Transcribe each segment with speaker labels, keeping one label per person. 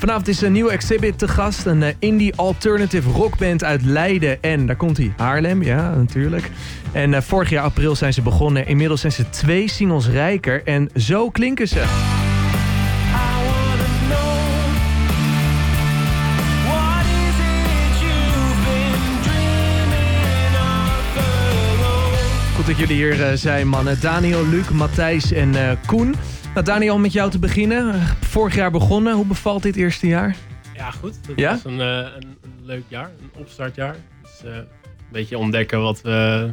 Speaker 1: Vanavond is een nieuwe exhibit te gast. Een eh, indie alternative rockband uit Leiden. En daar komt hij. Haarlem, ja, natuurlijk. En eh, vorig jaar april zijn ze begonnen. Inmiddels zijn ze twee singles rijker. En zo klinken ze. Goed dat jullie hier eh, zijn, mannen. Daniel, Luc, Matthijs en eh, Koen. Nou, Daniel, om met jou te beginnen. Eh, Vorig jaar begonnen. Hoe bevalt dit eerste jaar?
Speaker 2: Ja, goed. Dat
Speaker 1: Ja?
Speaker 2: was een, eh, een, een leuk jaar, een opstartjaar. Dus eh, een beetje ontdekken wat we,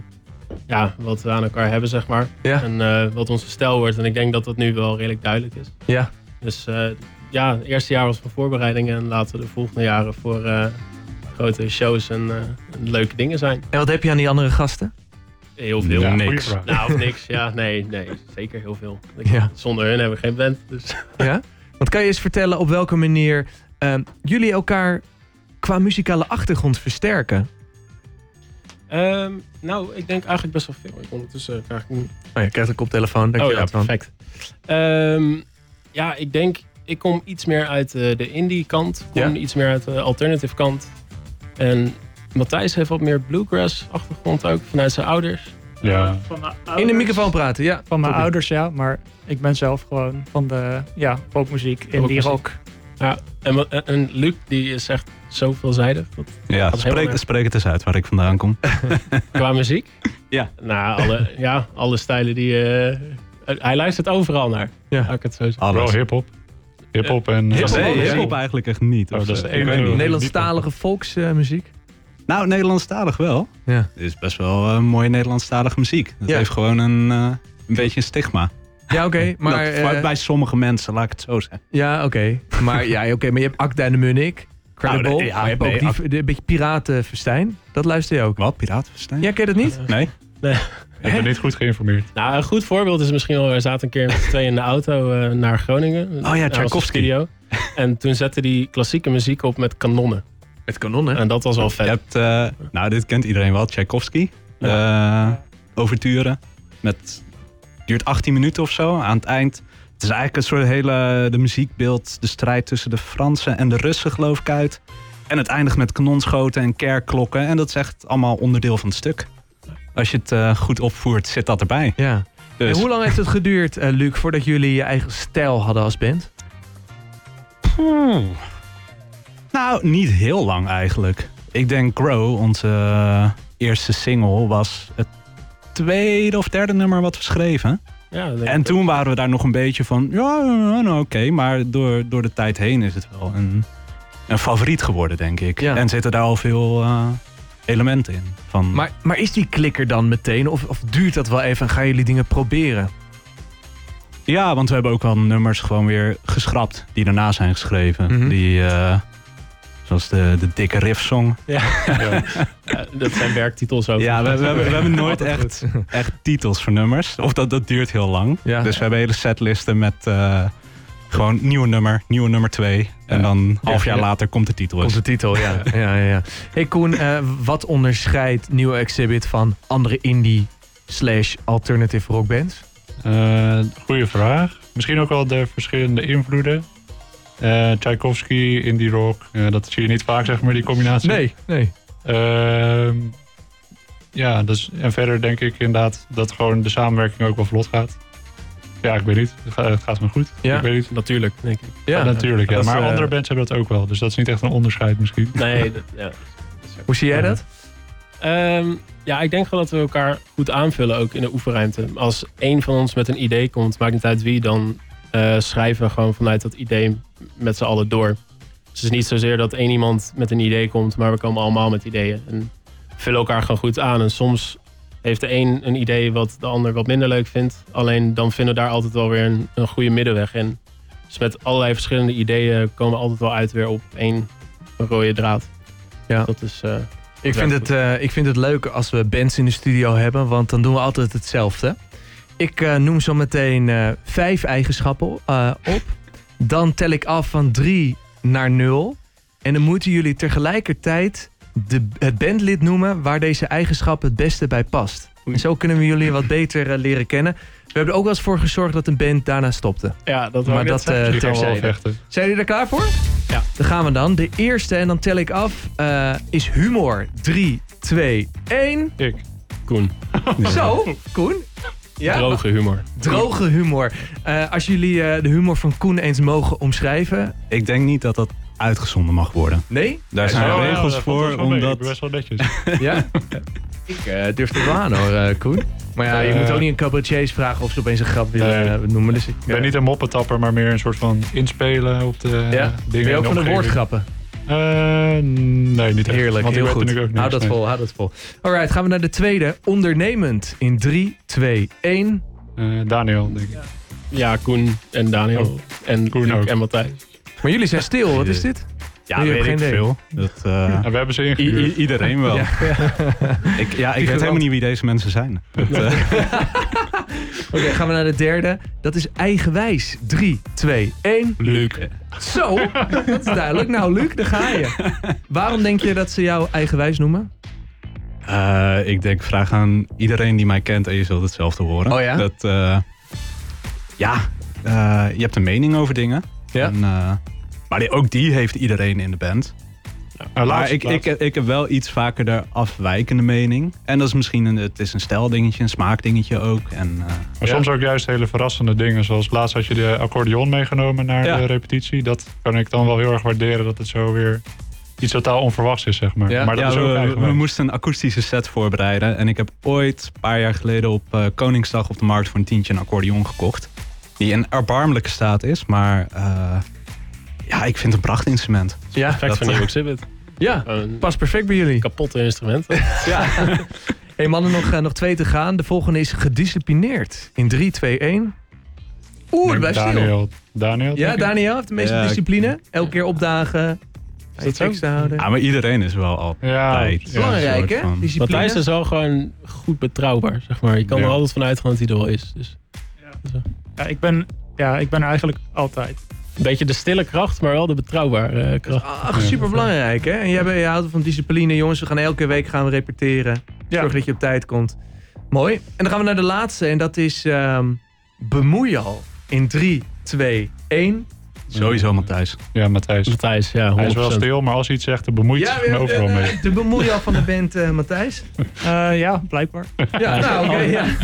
Speaker 2: ja, wat we aan elkaar hebben, zeg maar.
Speaker 1: Ja.
Speaker 2: En eh, wat onze stijl wordt. En ik denk dat dat nu wel redelijk duidelijk is.
Speaker 1: Ja.
Speaker 2: Dus eh, ja, het eerste jaar was van voorbereidingen. En laten we de volgende jaren voor eh, grote shows en, eh, en leuke dingen zijn.
Speaker 1: En wat heb je aan die andere gasten?
Speaker 2: Heel veel.
Speaker 3: Ja,
Speaker 4: Niks.
Speaker 3: goeie vraag.
Speaker 2: Nou, of niks. Ja, nee, nee. Zeker heel veel. Ik-
Speaker 1: Ja.
Speaker 2: Zonder hun hebben we geen band. Dus.
Speaker 1: Ja? Want kan je eens vertellen op welke manier ehm, jullie elkaar qua muzikale achtergrond versterken?
Speaker 2: Ehm, nou, ik denk eigenlijk best wel veel. Ik ondertussen eh, krijg ik een
Speaker 1: Oh, je krijgt een koptelefoon. Dank
Speaker 2: Oh
Speaker 1: je
Speaker 2: ja,
Speaker 1: wel, Twan.
Speaker 2: perfect. Ehm, ja, ik denk, ik kom iets meer uit eh, de indie kant. Kom
Speaker 1: Ja.
Speaker 2: iets meer uit de alternative kant. En Matthijs heeft wat meer bluegrass achtergrond ook, vanuit zijn ouders.
Speaker 3: Ja.
Speaker 4: Van mijn
Speaker 1: In de
Speaker 4: ouders-
Speaker 1: microfoon praten,
Speaker 3: Oh,
Speaker 1: ja.
Speaker 4: Van mijn
Speaker 1: Sorry.
Speaker 4: ouders, ja. Maar ik ben zelf gewoon van de ja, rockmuziek, indie
Speaker 2: Rockmuziek.
Speaker 4: rock.
Speaker 2: En, wat- en- en Luc, die is echt zo veelzijdig. Dat,
Speaker 3: Ja,
Speaker 2: Dat is helemaal
Speaker 3: spreek,
Speaker 2: erg.
Speaker 3: spreek het eens uit waar ik vandaan kom.
Speaker 2: qua muziek.
Speaker 3: Ja.
Speaker 2: Nou, alle, ja, alle stijlen die... eh, hij luistert overal naar,
Speaker 1: Ja.
Speaker 2: laat ik het zo zeggen.
Speaker 3: Alles.
Speaker 5: Wel hip-hop. Hip-hop en. eh,
Speaker 1: Hip-hop?
Speaker 3: Nee,
Speaker 1: Alles.
Speaker 3: hiphop eigenlijk echt niet.
Speaker 5: Oh,
Speaker 3: Of,
Speaker 5: dat is de
Speaker 3: eh, ik
Speaker 5: enige
Speaker 3: weet niet.
Speaker 1: Nederlandstalige volksmuziek.
Speaker 3: Nou, Nederlandstalig wel.
Speaker 1: Ja.
Speaker 3: Het is best wel eh, mooie Nederlandstalige muziek. Dat
Speaker 1: Ja.
Speaker 3: heeft gewoon een, eh, een beetje een stigma.
Speaker 1: Ja, oké. maar,
Speaker 3: dat, voor-
Speaker 1: eh,
Speaker 3: bij sommige mensen, laat ik het zo zeggen.
Speaker 1: ja, oké. maar, ja, oké, maar je hebt Akda en de Munnik. Credible.
Speaker 3: Nou, de- ja,
Speaker 1: maar je hebt
Speaker 3: nee,
Speaker 1: ook die,
Speaker 3: Ak-
Speaker 1: de- een beetje Piratenfestijn. Dat luister je ook.
Speaker 3: Wat, piratenverstijn?
Speaker 1: Ja, ken je dat niet?
Speaker 3: Nee?
Speaker 5: Ik ben niet goed geïnformeerd.
Speaker 2: Nou, een goed voorbeeld is misschien wel, we zaten een keer met z'n tweeën in de auto eh, naar Groningen. Naar onze
Speaker 3: Oh Tchaikovsky.
Speaker 2: studio. En toen zette die klassieke muziek op met kanonnen.
Speaker 1: Met kanonnen.
Speaker 2: En dat was wel vet.
Speaker 3: Je hebt, eh, nou, dit kent iedereen wel, Tchaikovsky. Eh, overturen. Met, duurt 18 minuten of zo aan het eind. Het is eigenlijk een soort hele de muziekbeeld, de strijd tussen de Fransen en de Russen geloof ik uit. En het eindigt met kanonschoten en kerkklokken. En dat is echt allemaal onderdeel van het stuk. Als je het eh, goed opvoert, zit dat erbij.
Speaker 1: Ja.
Speaker 3: Dus
Speaker 1: En hoe lang heeft het geduurd, eh, Luc, voordat jullie je eigen stijl hadden als band?
Speaker 3: Hmm. Nou, niet heel lang eigenlijk. Ik denk Grow, onze eh, eerste single, was het tweede of derde nummer wat we schreven.
Speaker 2: Ja, dat denk ik
Speaker 3: En
Speaker 2: ook.
Speaker 3: toen waren we daar nog een beetje van, ja, nou, nou, oké, maar door, door de tijd heen is het wel een, een favoriet geworden, denk ik.
Speaker 1: Ja.
Speaker 3: En zitten daar al veel eh, elementen in. Van,
Speaker 1: Maar, maar is die klikker dan meteen? Of, of duurt dat wel even en gaan jullie dingen proberen?
Speaker 3: Ja, want we hebben ook wel nummers gewoon weer geschrapt die daarna zijn geschreven.
Speaker 1: Mhm.
Speaker 3: Die, eh, zoals de, de dikke riffsong.
Speaker 2: Ja, dat zijn werktitels ook.
Speaker 3: Ja, we, we, hebben, we hebben nooit
Speaker 1: Altijd
Speaker 3: echt, echt titels voor nummers. Of dat, dat duurt heel lang.
Speaker 1: Ja.
Speaker 3: Dus we hebben hele setlisten met eh, gewoon nieuw nummer, nieuwe nummer twee. En
Speaker 1: Ja.
Speaker 3: dan een half jaar
Speaker 1: ja.
Speaker 3: later komt de titel. dus.
Speaker 1: Komt de titel, ja. ja, ja, ja. Hey Koen, eh, wat onderscheidt Nieuwe Exhibit van andere indie slash alternative rockbands?
Speaker 5: Eh goeie vraag. Misschien ook wel de verschillende invloeden. Eh Tchaikovsky, indie rock. eh, dat zie je niet vaak, zeg maar, die combinatie.
Speaker 1: nee.
Speaker 5: Ehm, ja, dus, en verder denk ik inderdaad dat gewoon de samenwerking ook wel vlot gaat. Ja, ik weet niet. Het gaat, het gaat me goed.
Speaker 1: Ja.
Speaker 5: Ik weet niet.
Speaker 2: Natuurlijk, denk ik.
Speaker 1: Ja.
Speaker 5: Ja, natuurlijk. Ja.
Speaker 1: dat is,
Speaker 5: Maar
Speaker 1: eh,
Speaker 5: andere bands hebben dat ook wel. Dus dat is niet echt een onderscheid misschien.
Speaker 2: Nee, dat- ja.
Speaker 1: Hoe zie jij dat?
Speaker 2: Ehm, ja, ik denk wel dat we elkaar goed aanvullen ook in de oefenruimte. Als één van ons met een idee komt, maakt niet uit wie, dan eh, schrijven we gewoon vanuit dat idee met z'n allen door. Dus het is niet zozeer dat één iemand met een idee komt, maar we komen allemaal met ideeën. En vullen elkaar gewoon goed aan. En soms heeft de een een idee wat de ander wat minder leuk vindt. Alleen dan vinden we daar altijd wel weer een, een goede middenweg in. Dus met allerlei verschillende ideeën komen we altijd wel uit weer op één rode draad.
Speaker 1: Ja.
Speaker 2: Dat is... eh,
Speaker 1: Ik vind, het, eh, ik vind het leuk als we bands in de studio hebben, want dan doen we altijd hetzelfde. Ik eh, noem zo meteen eh, vijf eigenschappen eh, op. Dan tel ik af van drie naar nul. En dan moeten jullie tegelijkertijd de, het bandlid noemen waar deze eigenschap het beste bij past. En zo kunnen we jullie wat beter eh, leren kennen. We hebben er ook wel eens voor gezorgd dat een band daarna stopte.
Speaker 2: Ja, dat
Speaker 1: Maar
Speaker 2: wou ik net
Speaker 1: dat
Speaker 2: zeggen.
Speaker 1: eh
Speaker 5: Ik kan wel
Speaker 1: terzijde.
Speaker 5: vechten.
Speaker 1: Zijn jullie er klaar voor?
Speaker 2: Ja.
Speaker 1: Dan gaan we dan. De eerste, en dan tel ik af, eh, is humor. 3, 2, 1.
Speaker 5: Ik.
Speaker 2: Koen,
Speaker 1: Zo, Koen. Ja?
Speaker 2: droge humor.
Speaker 1: Droge humor. Eh, als jullie eh, de humor van Koen eens mogen omschrijven.
Speaker 3: Ik denk niet dat dat uitgezonden mag worden.
Speaker 1: Nee?
Speaker 3: Daar
Speaker 5: Oh,
Speaker 3: zijn
Speaker 5: ja, dat
Speaker 3: regels
Speaker 5: valt
Speaker 3: voor.
Speaker 5: best wel mee. Ik ben
Speaker 3: Omdat...
Speaker 5: best wel netjes.
Speaker 1: Ja? ik eh, durf het wel aan hoor, eh, Koen. Maar ja, je
Speaker 5: Eh.
Speaker 1: moet ook niet een cabaretiers vragen of ze opeens een grap willen
Speaker 5: Nee.
Speaker 1: eh, noemen. Dus ik
Speaker 5: Ik ben niet een moppetapper, maar meer een soort van inspelen op de
Speaker 1: Ja.
Speaker 5: dingen.
Speaker 1: Ben je
Speaker 5: in
Speaker 1: ook van de
Speaker 5: omgeving.
Speaker 1: woordgrappen?
Speaker 5: Eh, nee, niet echt.
Speaker 1: Heerlijk, heel goed.
Speaker 5: want ik weet natuurlijk ook
Speaker 1: Hou
Speaker 5: niks,
Speaker 1: dat
Speaker 5: nee.
Speaker 1: vol, hou dat vol. Alright, gaan we naar de tweede. Ondernemend in 3, 2, 1.
Speaker 5: Eh, Daniel, denk ik.
Speaker 2: Ja, Koen en Daniel. En
Speaker 5: Koen
Speaker 2: Luc
Speaker 5: ook.
Speaker 2: en Matthijs.
Speaker 1: Maar jullie zijn stil, wat is dit?
Speaker 3: Ja,
Speaker 1: Nee,
Speaker 3: weet
Speaker 1: geen
Speaker 3: ik
Speaker 1: idee.
Speaker 3: veel. Dat, eh,
Speaker 5: En we hebben ze
Speaker 3: i-
Speaker 5: ingehuurd.
Speaker 3: i- iedereen wel.
Speaker 1: Ja.
Speaker 3: Ik, ja, ik weet helemaal niet wie deze mensen zijn.
Speaker 1: Oké, gaan we naar de derde. Dat is eigenwijs. 3, 2, 1.
Speaker 5: Luc.
Speaker 1: Zo, dat is duidelijk. Nou, Luc, daar ga je. Waarom denk je dat ze jou eigenwijs noemen?
Speaker 3: Eh, ik denk, vraag aan iedereen die mij kent en je zult hetzelfde horen.
Speaker 1: Oh ja?
Speaker 3: Dat, eh, ja, eh, je hebt een mening over dingen.
Speaker 1: Ja.
Speaker 3: En, eh, maar die, ook die heeft iedereen in de band.
Speaker 5: Maar
Speaker 3: maar ik, ik, ik heb wel iets vaker de afwijkende mening. En dat is misschien een, het is een stijldingetje, een smaakdingetje ook. En, eh,
Speaker 5: Maar soms ook juist hele verrassende dingen. Zoals laatst had je de accordeon meegenomen naar
Speaker 3: Ja.
Speaker 5: de repetitie. Dat kan ik dan wel heel erg waarderen dat het zo weer iets totaal onverwachts is, zeg maar.
Speaker 1: Ja.
Speaker 5: maar dat
Speaker 3: ja,
Speaker 5: is ook
Speaker 3: we, we
Speaker 5: eigenwijs.
Speaker 3: moesten een akoestische set voorbereiden. En ik heb ooit, een paar jaar geleden, op eh, Koningsdag op de markt voor een tientje een accordeon gekocht. Die in erbarmelijke staat is, maar eh, ja, ik vind het een prachtinstrument.
Speaker 1: Ja,
Speaker 2: Perfect
Speaker 3: Dat-
Speaker 2: van Nieuw Exhibit.
Speaker 1: ja.
Speaker 2: Een
Speaker 1: Past perfect bij jullie.
Speaker 2: kapotte instrument.
Speaker 1: hey, mannen, nog, eh, nog twee te gaan. De volgende is gedisciplineerd. In 3, 2, 1. Oeh, dat blijft stil.
Speaker 5: Daniel. Daniel?
Speaker 1: Ja,
Speaker 5: denk ik.
Speaker 1: Daniel heeft de meeste
Speaker 3: Ja, ik-
Speaker 1: discipline. Elke keer opdagen. Is
Speaker 2: zo?
Speaker 1: dat te houden.
Speaker 3: Ja, maar iedereen is wel altijd.
Speaker 5: Ja,
Speaker 3: Tijd.
Speaker 5: ja.
Speaker 1: Belangrijk,
Speaker 3: soort
Speaker 1: hè?
Speaker 3: van-
Speaker 1: Discipline.
Speaker 2: Matthijs is wel gewoon goed betrouwbaar, zeg maar. Je kan
Speaker 5: Ja.
Speaker 2: er altijd van uitgaan dat hij er wel is. Dus
Speaker 4: Ja, ik ben, ja, ik ben er eigenlijk altijd.
Speaker 2: een beetje de stille kracht, maar wel de betrouwbare eh, kracht.
Speaker 1: Ach, superbelangrijk, hè? En jij, bent- jij houdt van discipline, jongens. We gaan elke week gaan we repeteren. Zorg dat je op tijd komt. Mooi. En dan gaan we naar de laatste. En dat is ehm bemoei al. In 3, 2, 1.
Speaker 3: Sowieso Matthijs.
Speaker 5: Ja, Matthijs.
Speaker 2: Matthijs, ja, 100%.
Speaker 5: Hij is wel stil, maar als hij iets zegt, dan bemoeit hij zich gewoon overal mee.
Speaker 1: eh, de bemoei al van de band, eh, Matthijs.
Speaker 4: Eh, ja, blijkbaar.
Speaker 1: Ja, nou, oké. ja.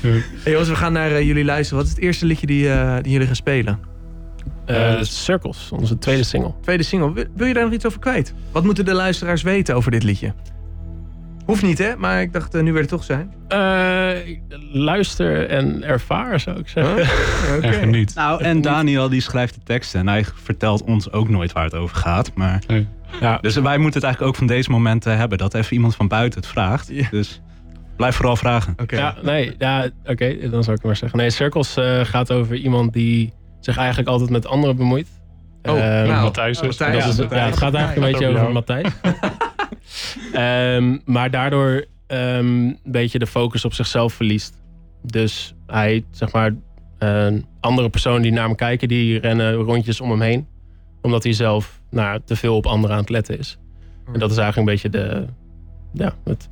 Speaker 1: Hey, jongens, we gaan naar eh, jullie luisteren. Wat is het eerste liedje die, eh, die jullie gaan spelen?
Speaker 2: Eh, Circles, onze tweede single.
Speaker 1: Tweede single. Wil, wil je daar nog iets over kwijt? Wat moeten de luisteraars weten over dit liedje? Hoeft niet, hè? Maar ik dacht, eh, nu weer het toch zijn.
Speaker 2: Eh, luister en ervaar, zou ik zeggen.
Speaker 1: Huh? Oké.
Speaker 5: En geniet.
Speaker 3: Nou, en Daniel die schrijft de teksten. En hij vertelt ons ook nooit waar het over gaat. Maar...
Speaker 5: Nee.
Speaker 3: Dus wij moeten het eigenlijk ook van deze momenten hebben. Dat even iemand van buiten het vraagt.
Speaker 1: Ja.
Speaker 3: Dus blijf vooral vragen.
Speaker 1: Oké.
Speaker 2: Ja, nee, ja, oké, dan zou ik het maar zeggen. Nee, Circles eh, gaat over iemand die zich eigenlijk altijd met anderen bemoeit.
Speaker 1: Oh,
Speaker 2: Ehm,
Speaker 1: nou,
Speaker 5: Matthijs is.
Speaker 1: Matthijs.
Speaker 2: dat is het, ja, het gaat eigenlijk een beetje
Speaker 5: Gaat
Speaker 2: over
Speaker 5: over
Speaker 2: Matthijs. Ehm, maar daardoor ehm, een beetje de focus op zichzelf verliest. Dus hij, zeg maar, een andere personen die naar hem kijken, die rennen rondjes om hem heen. Omdat hij zelf nou, te veel op anderen aan het letten is. En dat is eigenlijk een beetje de, ja, het,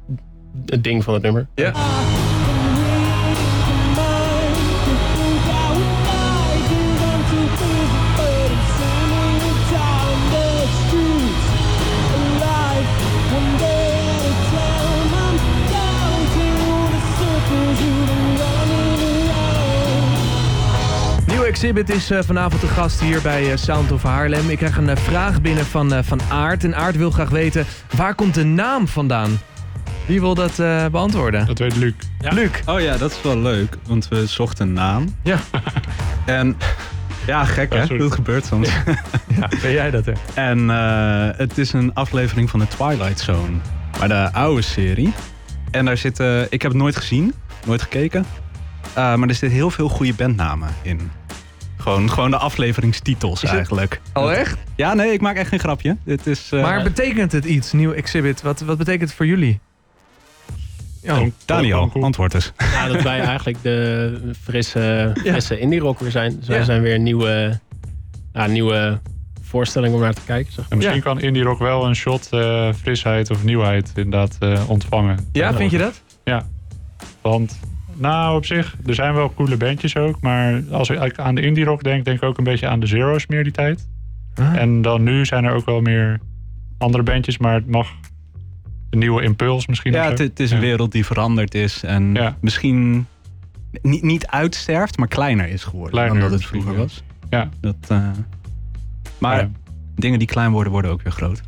Speaker 2: het ding van het nummer.
Speaker 1: Ja. Nieuw Exhibit is eh, vanavond de gast hier bij eh, Sound of Haarlem. Ik krijg een eh, vraag binnen van, eh, van Aart. En Aart wil graag weten, waar komt de naam vandaan? Wie wil dat eh, beantwoorden?
Speaker 5: Dat weet Luc.
Speaker 1: Luc.
Speaker 3: Oh ja, dat is wel leuk, want we zochten een naam.
Speaker 1: Ja.
Speaker 3: En ja, gek
Speaker 5: Ja,
Speaker 3: hè,
Speaker 5: sorry.
Speaker 3: dat gebeurt soms.
Speaker 1: Ja, ben jij dat, hè?
Speaker 3: En eh, het is een aflevering van de Twilight Zone, maar de oude serie. En daar zitten, ik heb het nooit gezien, nooit gekeken, Eh, maar er zitten heel veel goede bandnamen in. Gewoon, gewoon de afleveringstitels
Speaker 1: Is het-
Speaker 3: eigenlijk.
Speaker 1: Oh, echt?
Speaker 3: Ja, nee, ik maak echt geen grapje. Dit is, eh,
Speaker 1: Maar betekent het iets, Nieuw Exhibit? Wat, wat betekent het voor jullie? Oh, Ja.
Speaker 5: Kom, kom,
Speaker 3: Daniel,
Speaker 5: kom.
Speaker 3: antwoord eens.
Speaker 2: Ja, dat wij eigenlijk de frisse, frisse indie rock weer zijn. Dus wij
Speaker 1: Ja.
Speaker 2: zijn weer een nieuwe, ja, nieuwe voorstelling om naar te kijken. Zeg.
Speaker 5: En misschien
Speaker 1: Ja.
Speaker 5: kan indie rock wel een shot eh, frisheid of nieuwheid inderdaad eh, ontvangen.
Speaker 1: ja, vind je dat?
Speaker 5: Ja, Want, nou op zich, er zijn wel coole bandjes ook. Maar als ik aan de indie rock denk, denk ik ook een beetje aan de Zero's meer die tijd.
Speaker 1: Ah.
Speaker 5: En dan nu zijn er ook wel meer andere bandjes, maar het mag een nieuwe impuls misschien.
Speaker 3: Ja,
Speaker 5: of zo.
Speaker 3: het, het is een
Speaker 5: Ja.
Speaker 3: wereld die veranderd is en
Speaker 5: Ja.
Speaker 3: misschien niet, niet uitsterft, maar kleiner is geworden
Speaker 5: Kleiner
Speaker 3: dan dat het
Speaker 5: misschien,
Speaker 3: vroeger
Speaker 5: ja.
Speaker 3: was.
Speaker 5: Ja.
Speaker 3: Dat, eh, maar
Speaker 5: Ja.
Speaker 3: dingen die klein worden, worden ook weer groot.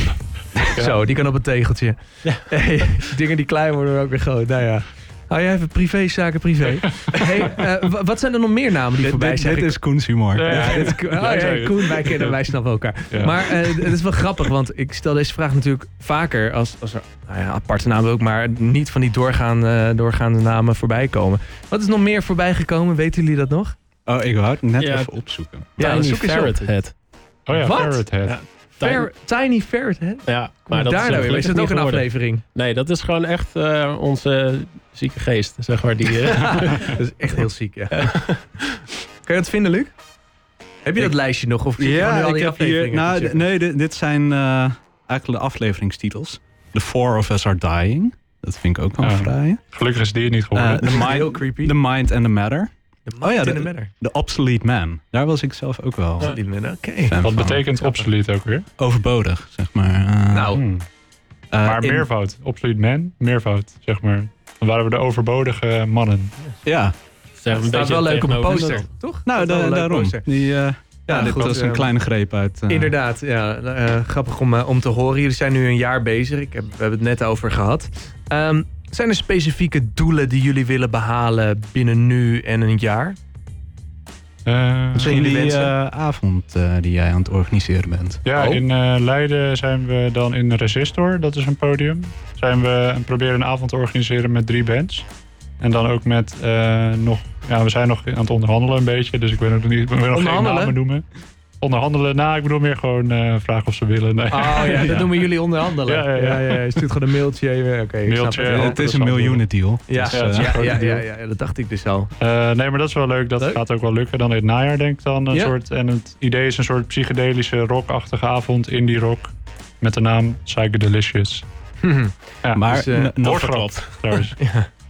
Speaker 5: Ja.
Speaker 1: Zo, die kan op een tegeltje.
Speaker 2: Ja.
Speaker 1: Hey, dingen die klein worden worden ook weer groot. Nou ja. Hou jij even privézaken privé. hey, eh, wa- wat zijn er nog meer namen die
Speaker 3: Dit,
Speaker 1: voorbij
Speaker 3: dit,
Speaker 1: zijn?
Speaker 3: dit is Koens humor.
Speaker 5: Ja,
Speaker 1: Ja,
Speaker 5: ja.
Speaker 1: dit is Koen. Oh,
Speaker 5: Jij
Speaker 1: ja,
Speaker 5: zei het.
Speaker 1: Koen, wij kennen, wij snappen elkaar.
Speaker 5: Ja.
Speaker 1: Maar eh, het is wel grappig, want ik stel deze vraag natuurlijk vaker als, als er nou ja, aparte namen ook, maar niet van die doorgaande, doorgaande namen voorbij komen. Wat is nog meer voorbij gekomen? Weten jullie dat nog?
Speaker 3: Oh, ik wou het net
Speaker 2: Ja.
Speaker 3: even opzoeken.
Speaker 1: zoek
Speaker 2: Tiny
Speaker 1: eens op.
Speaker 2: Ferret Head.
Speaker 5: Oh ja,
Speaker 1: Wat?
Speaker 5: Parrot Head.
Speaker 2: Ja.
Speaker 1: Fer- Tiny Ferret, hè?
Speaker 2: Ja,
Speaker 1: Maar
Speaker 2: maar dat
Speaker 1: daar
Speaker 2: is, eh,
Speaker 1: nou weer. Is
Speaker 2: gelukkig
Speaker 1: dat ook
Speaker 2: niet
Speaker 1: een
Speaker 2: geworden.
Speaker 1: aflevering?
Speaker 2: Nee, dat is gewoon echt eh, onze zieke geest, zeg maar. Die, eh,
Speaker 1: dat is echt heel ziek, ja. kan je dat vinden, Luc? Heb je dat lijstje nog? Of zit je gewoon nu al die afleveringen te
Speaker 3: nou, d-
Speaker 1: checken?
Speaker 3: nee, dit, dit zijn eh, eigenlijk de afleveringstitels. The Four of Us Are Dying. Dat vind ik ook wel
Speaker 5: Ah.
Speaker 3: een vrije.
Speaker 5: Gelukkig is die niet
Speaker 3: Eh,
Speaker 1: Ah,
Speaker 5: geworden.
Speaker 3: the,
Speaker 1: Heel
Speaker 3: mind,
Speaker 1: creepy.
Speaker 3: the Mind and the Matter.
Speaker 1: De
Speaker 3: oh ja,
Speaker 1: Mind in
Speaker 3: de-
Speaker 1: the Matter.
Speaker 3: The Obsolete Man. Daar was ik zelf ook wel
Speaker 1: Die Matter, Oké.
Speaker 3: fan
Speaker 5: Wat
Speaker 3: van.
Speaker 5: betekent
Speaker 1: Grappig.
Speaker 5: obsolete ook weer?
Speaker 3: Overbodig, zeg maar. Eh,
Speaker 1: Nou,
Speaker 5: Hmm.
Speaker 3: eh,
Speaker 5: maar
Speaker 3: in-
Speaker 5: meervoud. Obsolete man, meervoud, zeg maar. Dan waren we de overbodige mannen.
Speaker 3: Ja,
Speaker 2: zeg,
Speaker 1: Het staat wel leuk op een poster, toch?
Speaker 3: nou,
Speaker 1: Dat is wel
Speaker 3: da-
Speaker 1: een leuk
Speaker 3: daarom.
Speaker 1: poster.
Speaker 3: Die, eh, ja,
Speaker 1: Ja,
Speaker 3: dit
Speaker 1: goed,
Speaker 3: was een
Speaker 1: eh,
Speaker 3: kleine greep uit... eh,
Speaker 1: Inderdaad, ja. eh, grappig om, eh, om te horen. Jullie zijn nu een jaar bezig. Ik heb, we hebben het net over gehad. Ehm, zijn er specifieke doelen die jullie willen behalen binnen nu en een jaar?
Speaker 5: Eh,
Speaker 3: Misschien
Speaker 1: Goede
Speaker 3: die
Speaker 1: wensen.
Speaker 3: eh, avond eh, die jij aan het organiseren bent.
Speaker 5: ja,
Speaker 1: Oh.
Speaker 5: in eh, Leiden zijn we dan in Resistor, dat is een podium. Zijn we en proberen een avond te organiseren met drie bands. En dan ook met eh, nog, ja, we zijn nog aan het onderhandelen een beetje, dus ik weet nog niet, ik wil nog geen
Speaker 1: Onderhandelen?
Speaker 5: namen noemen. Onderhandelen, nou, ik bedoel meer gewoon eh, vragen of ze willen. Nee.
Speaker 1: Oh ja, dat noemen jullie onderhandelen.
Speaker 5: Ja, ja, ja.
Speaker 1: je stuurt gewoon een mailtje. even. Oké, ik snap
Speaker 5: Mailtje,
Speaker 1: het.
Speaker 5: Ja,
Speaker 3: Eh, het is
Speaker 5: dat
Speaker 3: een
Speaker 5: zal
Speaker 3: miljoenendeal.
Speaker 1: Ja,
Speaker 3: Dus,
Speaker 5: Ja, het is
Speaker 3: eh,
Speaker 5: een
Speaker 1: ja,
Speaker 5: grote
Speaker 1: ja,
Speaker 5: deal.
Speaker 1: ja, ja, dat dacht ik dus al.
Speaker 5: Eh, nee, maar dat is wel leuk. Dat
Speaker 1: Leuk.
Speaker 5: gaat ook wel lukken dan in het najaar, denk ik dan. Een
Speaker 1: Ja.
Speaker 5: soort, en het idee is een soort psychedelische rockachtige avond, indie rock. Met de naam Psychedelicious. Ja,
Speaker 3: Maar
Speaker 1: Dus, eh,
Speaker 3: no- no-
Speaker 5: wordt trouwens.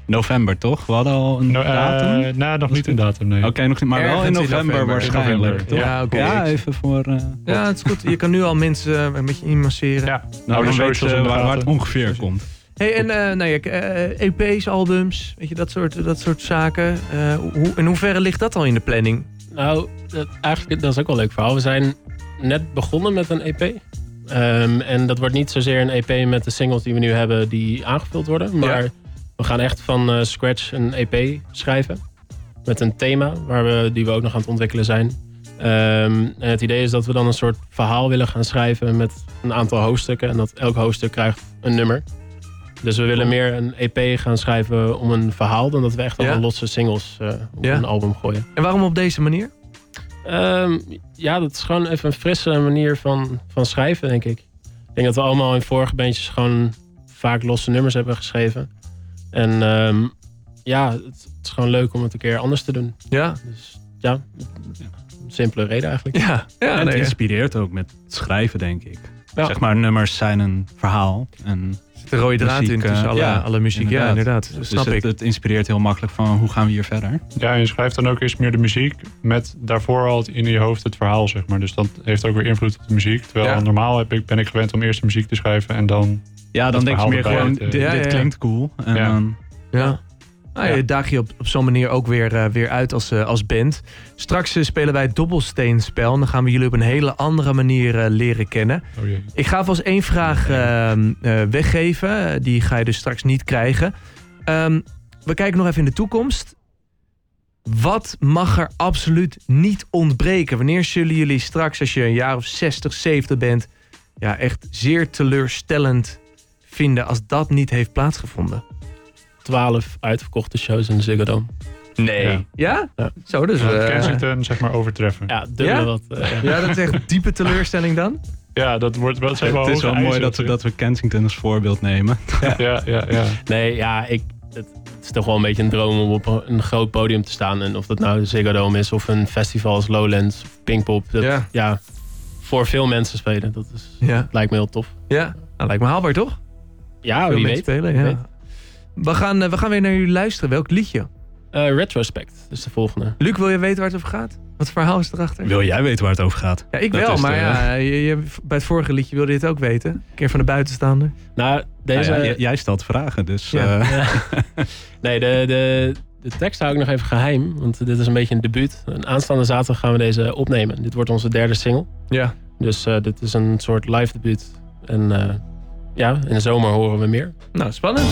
Speaker 3: november toch? We hadden al een
Speaker 5: No, eh,
Speaker 3: datum? Oké,
Speaker 5: nee, nog niet een datum, nee.
Speaker 3: nog niet, maar wel
Speaker 1: Ergens
Speaker 3: in november, waarschijnlijk.
Speaker 5: november.
Speaker 1: Ja,
Speaker 3: toch?
Speaker 1: oké.
Speaker 3: Ja,
Speaker 1: ik-
Speaker 3: even voor... eh,
Speaker 1: Ja, het is goed. Je kan nu al mensen eh, een beetje inmasseren.
Speaker 5: Ja,
Speaker 3: nou,
Speaker 5: de
Speaker 3: dan weet
Speaker 5: socials in
Speaker 3: je
Speaker 5: de
Speaker 3: waar, waar het
Speaker 5: gaten.
Speaker 3: ongeveer komt.
Speaker 1: Hey, en eh, nou ja, k- eh, EP's, albums, weet je, dat soort, dat soort zaken. Eh, hoe, in hoeverre ligt dat al in de planning?
Speaker 2: Nou, dat, eigenlijk, dat is ook wel een leuk verhaal. We zijn net begonnen met een EP. Ehm, en dat wordt niet zozeer een EP met de singles die we nu hebben die aangevuld worden. Maar we gaan echt van eh, scratch een EP schrijven. Met een thema waar we, die we ook nog aan het ontwikkelen zijn. Ehm, en het idee is dat we dan een soort verhaal willen gaan schrijven met een aantal hoofdstukken. En dat elk hoofdstuk krijgt een nummer. Dus we willen meer een EP gaan schrijven om een verhaal dan dat we echt
Speaker 1: Ja.
Speaker 2: al losse singles eh, op
Speaker 1: Ja.
Speaker 2: een album gooien.
Speaker 1: En waarom op deze manier?
Speaker 2: Ehm, ja, dat is gewoon even een frisse manier van, van schrijven, denk ik. Ik denk dat we allemaal in vorige bandjes gewoon vaak losse nummers hebben geschreven. En ehm, ja, het, het is gewoon leuk om het een keer anders te doen.
Speaker 1: Ja,
Speaker 2: Dus ja, een simpele reden eigenlijk.
Speaker 1: ja, ja.
Speaker 3: en het
Speaker 1: nee, ja.
Speaker 3: inspireert ook met het schrijven, denk ik.
Speaker 1: Ja.
Speaker 3: Zeg maar, nummers zijn een verhaal. En
Speaker 1: De rode draad
Speaker 3: Muziek,
Speaker 1: in
Speaker 3: eh,
Speaker 1: tussen alle,
Speaker 3: ja,
Speaker 1: alle muziek. Ja, inderdaad. eh, Dat
Speaker 3: dus
Speaker 1: snap
Speaker 3: het,
Speaker 1: ik.
Speaker 3: het inspireert heel makkelijk van hoe gaan we hier verder.
Speaker 5: Ja, en je schrijft dan ook eerst meer de muziek. Met daarvoor al het- in je hoofd het verhaal, zeg maar. Dus dat heeft ook weer invloed op de muziek. Terwijl
Speaker 1: Ja.
Speaker 5: normaal heb ik, ben ik gewend om eerst de muziek te schrijven en dan...
Speaker 3: Ja, dan
Speaker 5: Dat
Speaker 3: denk je
Speaker 5: verhaal
Speaker 3: meer
Speaker 5: erbij,
Speaker 3: gewoon,
Speaker 5: het, eh,
Speaker 3: dit,
Speaker 1: Ja,
Speaker 3: dit
Speaker 1: ja, ja.
Speaker 3: klinkt cool. En
Speaker 5: Ja.
Speaker 3: dan
Speaker 1: Ja. Nou, je daag je op, op zo'n manier ook weer, eh, weer uit als, eh, als band. Straks eh, spelen wij het dobbelsteenspel. En dan gaan we jullie op een hele andere manier eh, leren kennen.
Speaker 5: Oh jee.
Speaker 1: Ik ga vast één vraag ehm, eh, weggeven. Eh, Die ga je dus straks niet krijgen. Ehm, we kijken nog even in de toekomst. Wat mag er absoluut niet ontbreken? Wanneer zullen jullie straks, als je een jaar of 60, 70 bent... Ja, echt zeer teleurstellend vinden als dat niet heeft plaatsgevonden?
Speaker 2: Twaalf uitverkochte shows in de Ziggo Dome.
Speaker 1: Nee. Ja?
Speaker 2: Ja.
Speaker 1: Zo, dus...
Speaker 5: Ja,
Speaker 1: eh,
Speaker 5: Kensington, zeg maar, overtreffen.
Speaker 2: Ja, dubbel
Speaker 1: Ja?
Speaker 2: wat. eh, ja.
Speaker 1: ja, dat is echt diepe teleurstelling dan.
Speaker 5: Ja, dat wordt wel... zijn
Speaker 3: het is
Speaker 5: hoge
Speaker 3: wel mooi
Speaker 5: eisen
Speaker 3: dat we,
Speaker 5: natuurlijk.
Speaker 3: dat we Kensington als voorbeeld nemen.
Speaker 5: Ja, ja, ja. Oh
Speaker 2: Nee, ja, ik, het, het is toch wel een beetje een droom om op een, een groot podium te staan. En of dat nou de Ziggo Dome is of een festival als Lowlands of Pinkpop. Dat,
Speaker 1: Ja.
Speaker 2: ja. voor veel mensen spelen. Dat is,
Speaker 1: Ja.
Speaker 2: lijkt me heel tof.
Speaker 1: ja. Nou, lijkt me haalbaar, toch?
Speaker 2: Ja,
Speaker 1: Veel
Speaker 2: Oh, wie
Speaker 1: mensen
Speaker 2: weet.
Speaker 1: spelen,
Speaker 2: Wie
Speaker 1: ja.
Speaker 2: weet.
Speaker 1: We gaan, eh, we gaan weer naar jullie luisteren. Welk liedje?
Speaker 2: Eh, Retrospect is de volgende.
Speaker 1: Luc, wil je weten waar het over gaat? Wat verhaal is erachter?
Speaker 3: Wil jij weten waar het over gaat?
Speaker 1: Ja, ik
Speaker 3: Dat
Speaker 1: wel,
Speaker 3: is
Speaker 1: maar
Speaker 3: de-
Speaker 1: ja, je, je- bij het vorige liedje wilde je het ook weten. Een keer van de buitenstaander.
Speaker 2: Nou, deze...
Speaker 3: Nou ja, j- jij stelt vragen, dus...
Speaker 1: Ja.
Speaker 3: eh,
Speaker 2: Ja. nee, de, de, de tekst hou ik nog even geheim. Want dit is een beetje een debuut. Een aanstaande zaterdag gaan we deze opnemen. Dit wordt onze derde single.
Speaker 1: Ja.
Speaker 2: Dus eh, dit is een soort live debuut. En eh, ja, in de zomer horen we meer.
Speaker 1: Nou, spannend.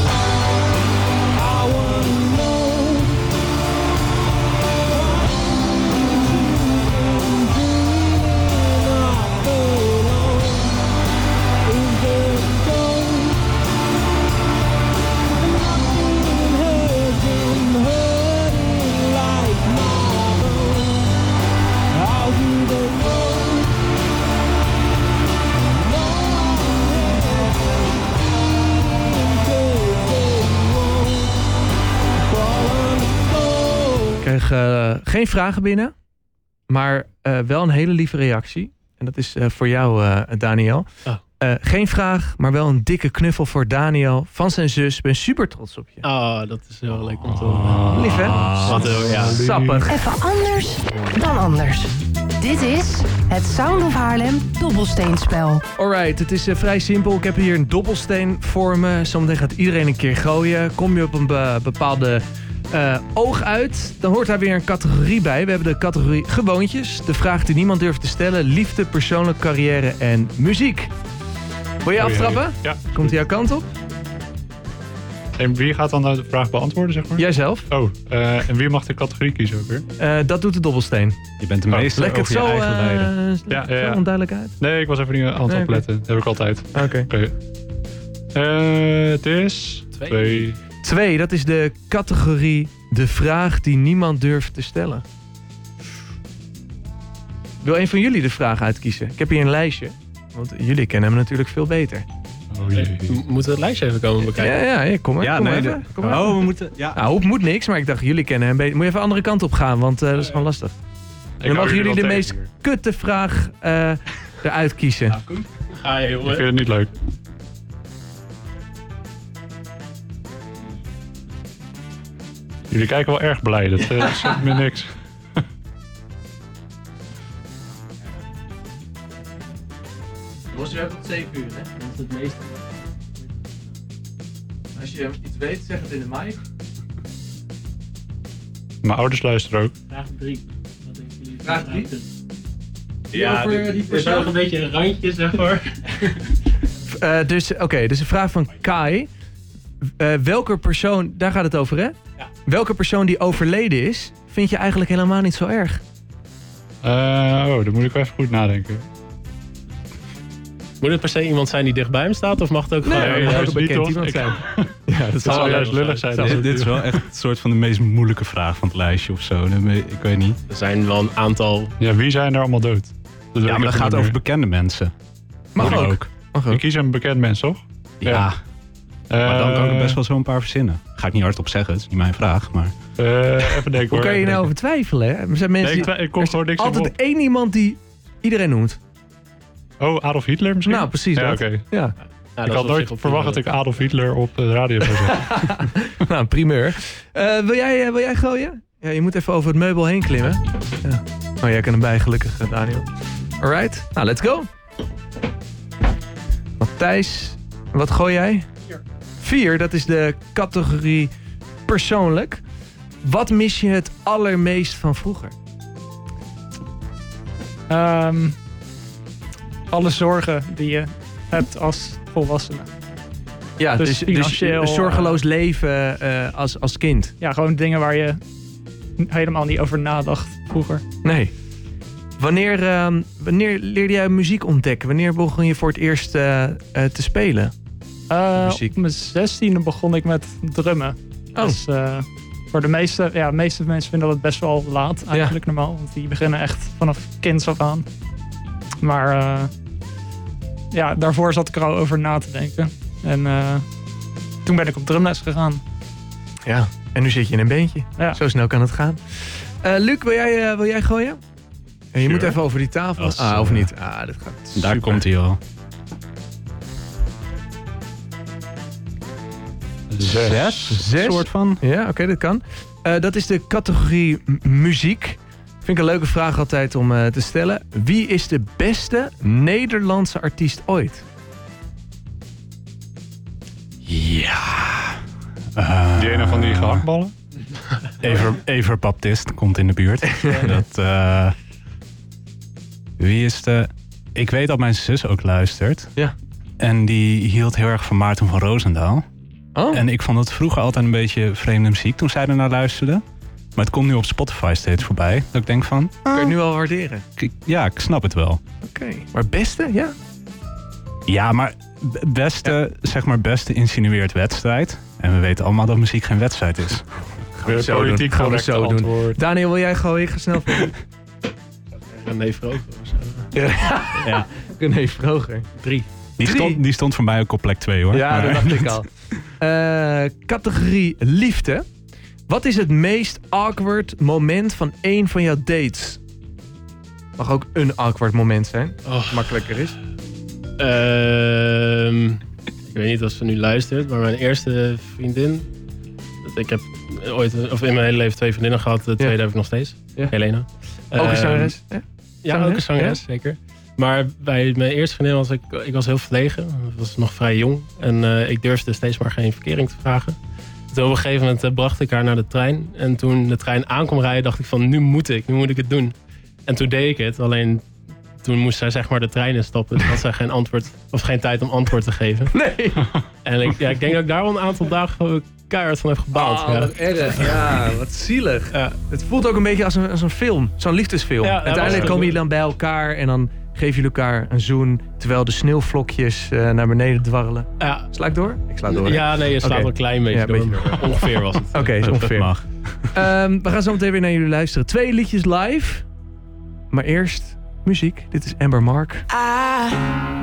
Speaker 1: Ik kreeg eh, geen vragen binnen, maar eh, wel een hele lieve reactie. En dat is eh, voor jou, eh, Daniel.
Speaker 3: Ah.
Speaker 2: Oh.
Speaker 1: Eh, geen vraag, maar wel een dikke knuffel voor Daniel van zijn zus. Ik ben super trots op je.
Speaker 2: Ah, dat is heel leuk om te horen.
Speaker 1: Lief, hè?
Speaker 3: Ah.
Speaker 2: Wat heel, ja.
Speaker 1: Sappig.
Speaker 6: Even anders dan anders. Dit is het Sound of Haarlem dobbelsteenspel.
Speaker 1: Alright, het is eh, vrij simpel. Ik heb hier een dobbelsteen voor me. Zometeen gaat iedereen een keer gooien. Kom je op een be- bepaalde eh, oog uit, dan hoort daar weer een categorie bij. We hebben de categorie gewoontjes. De vraag die niemand durft te stellen. Liefde, persoonlijke carrière en muziek. Wil je aftrappen?
Speaker 5: Ja.
Speaker 1: Komt hij jouw kant op?
Speaker 5: En wie gaat dan nou de vraag beantwoorden, zeg maar?
Speaker 1: Jijzelf.
Speaker 5: Oh, eh, en wie mag de categorie kiezen ook weer?
Speaker 1: Eh, dat doet de dobbelsteen.
Speaker 3: Je bent de
Speaker 5: Oh,
Speaker 3: meester
Speaker 1: Lek het
Speaker 3: over je
Speaker 1: zo,
Speaker 3: eigen
Speaker 1: eh,
Speaker 3: lijden.
Speaker 1: lek
Speaker 5: Ja,
Speaker 1: het
Speaker 5: ja,
Speaker 1: zo
Speaker 5: ja.
Speaker 1: onduidelijk uit.
Speaker 5: Nee, ik was even niet aan het
Speaker 1: Nee, oké.
Speaker 5: opletten. Dat heb ik altijd.
Speaker 1: Oké.
Speaker 5: Oké. Eh, het is...
Speaker 2: Twee.
Speaker 5: Twee.
Speaker 1: Twee, dat is de categorie de vraag die niemand durft te stellen. Wil een van jullie de vraag uitkiezen? Ik heb hier een lijstje. Want jullie kennen hem natuurlijk veel beter.
Speaker 5: Oh, jee.
Speaker 2: M- Moeten we het lijstje even komen bekijken?
Speaker 1: Ja, ja, ja, kom maar.
Speaker 3: Ja,
Speaker 1: kom
Speaker 3: nee.
Speaker 1: maar
Speaker 3: de-
Speaker 1: even, kom maar.
Speaker 3: Oh, we moeten... Ja.
Speaker 1: Nou, hoop moet niks, maar ik dacht, jullie kennen hem beter. Moet je even andere kant op gaan, want eh, dat is gewoon lastig.
Speaker 5: Ik hou
Speaker 1: mogen jullie
Speaker 5: wel
Speaker 1: de
Speaker 5: tegen hier.
Speaker 1: Kutte vraag eh, eruit kiezen.
Speaker 2: Ah, ja,
Speaker 5: Ik
Speaker 2: jongen.
Speaker 5: vind het niet leuk. Jullie kijken wel erg blij. Dat eh, zegt me niks.
Speaker 1: Was je tot 7 uur, hè? Dat is het meeste. Als je iets weet, zeg het in de mic.
Speaker 5: Mijn ouders luisteren ook.
Speaker 2: Vraag 3.
Speaker 1: Vraag drie?
Speaker 2: Ja,
Speaker 1: Over die
Speaker 2: dit- dit is wel een beetje een randje, zeg maar.
Speaker 1: Eh, dus oké, dus een vraag van Kai. Eh, welke persoon, daar gaat het over hè? Welke persoon die overleden is, vind je eigenlijk helemaal niet zo erg?
Speaker 5: Eh, oh, dan moet ik wel even goed nadenken.
Speaker 2: Moet het per se iemand zijn die dichtbij hem staat? Of mag het ook
Speaker 5: Nee,
Speaker 2: gewoon...
Speaker 5: dat
Speaker 1: dat
Speaker 5: is niet, hoor. Ik-
Speaker 1: Ja, dat zal
Speaker 5: Dat zou
Speaker 1: wel.
Speaker 5: juist lullig zijn.
Speaker 3: Dit, dit is wel echt een soort van de meest moeilijke vraag van het lijstje of zo. Dan weet- Ik weet niet.
Speaker 2: Er zijn wel een aantal...
Speaker 5: Ja, wie zijn er allemaal dood? Dat weet
Speaker 3: Ja,
Speaker 5: ik
Speaker 3: maar dat
Speaker 5: even
Speaker 3: gaat
Speaker 5: niet
Speaker 3: over
Speaker 5: meer.
Speaker 3: bekende mensen.
Speaker 1: Mag
Speaker 3: Moet
Speaker 1: ook. Mag
Speaker 5: Ik
Speaker 1: ook.
Speaker 5: kies een bekend mens, toch?
Speaker 3: Ja,
Speaker 5: Ja.
Speaker 3: maar dan kan ik
Speaker 5: Eh,
Speaker 3: er best wel zo'n paar verzinnen. Ga ik niet hardop zeggen, het is niet mijn vraag. Maar
Speaker 5: eh, even denken
Speaker 1: Hoe
Speaker 5: hoor.
Speaker 1: kan je
Speaker 5: even
Speaker 1: nou
Speaker 5: denken.
Speaker 1: over twijfelen hè? Er zijn mensen
Speaker 5: Nee, ik,
Speaker 1: die,
Speaker 5: twa- ik kom
Speaker 1: er
Speaker 5: gewoon
Speaker 1: is
Speaker 5: niks in
Speaker 1: altijd één iemand die iedereen noemt.
Speaker 5: Oh, Adolf Hitler misschien?
Speaker 1: Nou, precies
Speaker 5: Ja,
Speaker 1: dat.
Speaker 5: oké.
Speaker 1: Ja,
Speaker 2: Nou,
Speaker 5: ik had nooit verwacht dat ik Adolf Hitler op de radio zou zeggen.
Speaker 1: nou een primeur. Eh, wil, jij, eh, wil jij gooien? Ja, je moet even over het meubel heen klimmen. Ja. Oh, jij kan hem bij, gelukkig eh, Daniel. Alright, nou let's go. Matthijs, wat gooi jij? Vier, dat is de categorie persoonlijk. Wat mis je het allermeest van vroeger?
Speaker 4: Ehm, alle zorgen die je hebt als volwassene.
Speaker 1: Ja,
Speaker 4: Dus
Speaker 1: dus, dus
Speaker 4: financieel,
Speaker 1: een zorgeloos leven eh, als, als kind.
Speaker 4: Ja, gewoon dingen waar je n- helemaal niet over nadacht vroeger.
Speaker 1: Nee. Wanneer, ehm, wanneer leerde jij muziek ontdekken? Wanneer begon je voor het eerst eh, eh, te spelen?
Speaker 4: Eh,
Speaker 1: Muziek.
Speaker 4: op mijn zestiende begon ik met drummen.
Speaker 1: Oh.
Speaker 4: Dus eh, voor de meeste, ja, de meeste mensen vinden dat best wel laat eigenlijk normaal. Want die beginnen echt vanaf kinds af aan. Maar eh, ja, daarvoor zat ik er al over na te denken. En eh, toen ben ik op drumles gegaan.
Speaker 1: Ja, en nu zit je in een beentje.
Speaker 4: Ja.
Speaker 1: Zo snel kan het gaan. Eh, Luc, wil jij, eh, wil jij gooien? Eh, je
Speaker 3: Sure.
Speaker 1: moet even over die tafel.
Speaker 3: Als,
Speaker 1: ah, of
Speaker 3: eh,
Speaker 1: niet? Ah, dat gaat
Speaker 3: daar
Speaker 1: super.
Speaker 3: komt hij al.
Speaker 5: Zes.
Speaker 1: Zes?
Speaker 3: soort van.
Speaker 1: Ja, oké, dat kan. Eh, dat is de categorie m- muziek. Vind ik een leuke vraag altijd om eh, te stellen. Wie is de beste Nederlandse artiest ooit?
Speaker 5: Die ene van die gehaktballen.
Speaker 3: Ever, Ever Baptist komt in de buurt. dat, eh, wie is de... Ik weet dat mijn zus ook luistert.
Speaker 1: Ja.
Speaker 3: En die hield heel erg van Maarten van Roosendaal.
Speaker 1: Oh,
Speaker 3: En ik vond dat vroeger altijd een beetje vreemde muziek toen zij ernaar luisterde. Maar het komt nu op Spotify steeds voorbij. Dat ik denk van,
Speaker 1: kan je nu al waarderen.
Speaker 3: k- ja, ik snap het wel.
Speaker 1: Oké. Maar beste, ja?
Speaker 3: Ja, maar b- beste, zeg maar beste insinueert wedstrijd. En we weten allemaal dat muziek geen wedstrijd is.
Speaker 5: Weer
Speaker 1: zo
Speaker 5: politiek
Speaker 1: doen. Gaan we
Speaker 5: correcte
Speaker 1: zo doen.
Speaker 5: antwoord.
Speaker 1: Daniel, wil jij gewoon even snel voor?
Speaker 2: René Vroger of zo.
Speaker 3: Ja.
Speaker 1: René Vroger. Drie.
Speaker 3: Die
Speaker 1: Drie.
Speaker 3: stond, die stond voor mij ook op plek 2 hoor.
Speaker 1: Ja,
Speaker 3: Maar-
Speaker 1: dat dacht ik al. Eh, categorie liefde. Wat is het meest awkward moment van één van jouw dates? Mag ook een awkward moment zijn.
Speaker 2: Oh.
Speaker 1: Makkelijker is.
Speaker 2: Ehm, ik weet niet of ze nu luistert, maar mijn eerste vriendin. dat Ik heb ooit, of in mijn hele leven twee vriendinnen gehad. De tweede heb ik nog steeds.
Speaker 1: Ja.
Speaker 2: Helena.
Speaker 1: Ook een
Speaker 2: Ehm,
Speaker 1: zangeres. hè?
Speaker 2: Ja, ook een zangeres, zeker. Maar bij mijn eerste vriendin was ik, ik was heel verlegen. Ik was nog vrij jong. En eh, ik durfde steeds maar geen verkering te vragen. Toen op een gegeven moment eh, bracht ik haar naar de trein. En toen de trein aankwam rijden, dacht ik van nu moet ik, nu moet ik het doen. En toen deed ik het. Alleen toen moest zij zeg maar de trein instappen. Toen had zij geen antwoord, of geen tijd om antwoord te geven.
Speaker 1: Nee.
Speaker 2: En ik, ja, ik denk dat ik daar wel een aantal dagen gewoon keihard van heb gebaald.
Speaker 1: Oh,
Speaker 2: ja.
Speaker 1: wat erg. Ja, wat zielig.
Speaker 2: Ja.
Speaker 1: Het voelt ook een beetje als een, als een film. Zo'n liefdesfilm.
Speaker 2: Ja, ja, was
Speaker 1: Uiteindelijk
Speaker 2: het.
Speaker 1: komen jullie dan bij elkaar en dan geven jullie elkaar een zoen. Terwijl de sneeuwvlokjes eh, naar beneden dwarrelen.
Speaker 2: Ja,
Speaker 1: Sla ik door? Ik sla door. hè?
Speaker 2: ja, nee, je staat
Speaker 1: Oké.
Speaker 2: wel een klein beetje,
Speaker 1: Ja, een beetje
Speaker 2: door. Ongeveer was het.
Speaker 1: Oké, is
Speaker 3: dat
Speaker 1: ongeveer.
Speaker 3: mag.
Speaker 1: Ehm, we gaan zo meteen weer naar jullie luisteren. Twee liedjes live. Maar eerst muziek. Dit is Amber Mark.
Speaker 7: I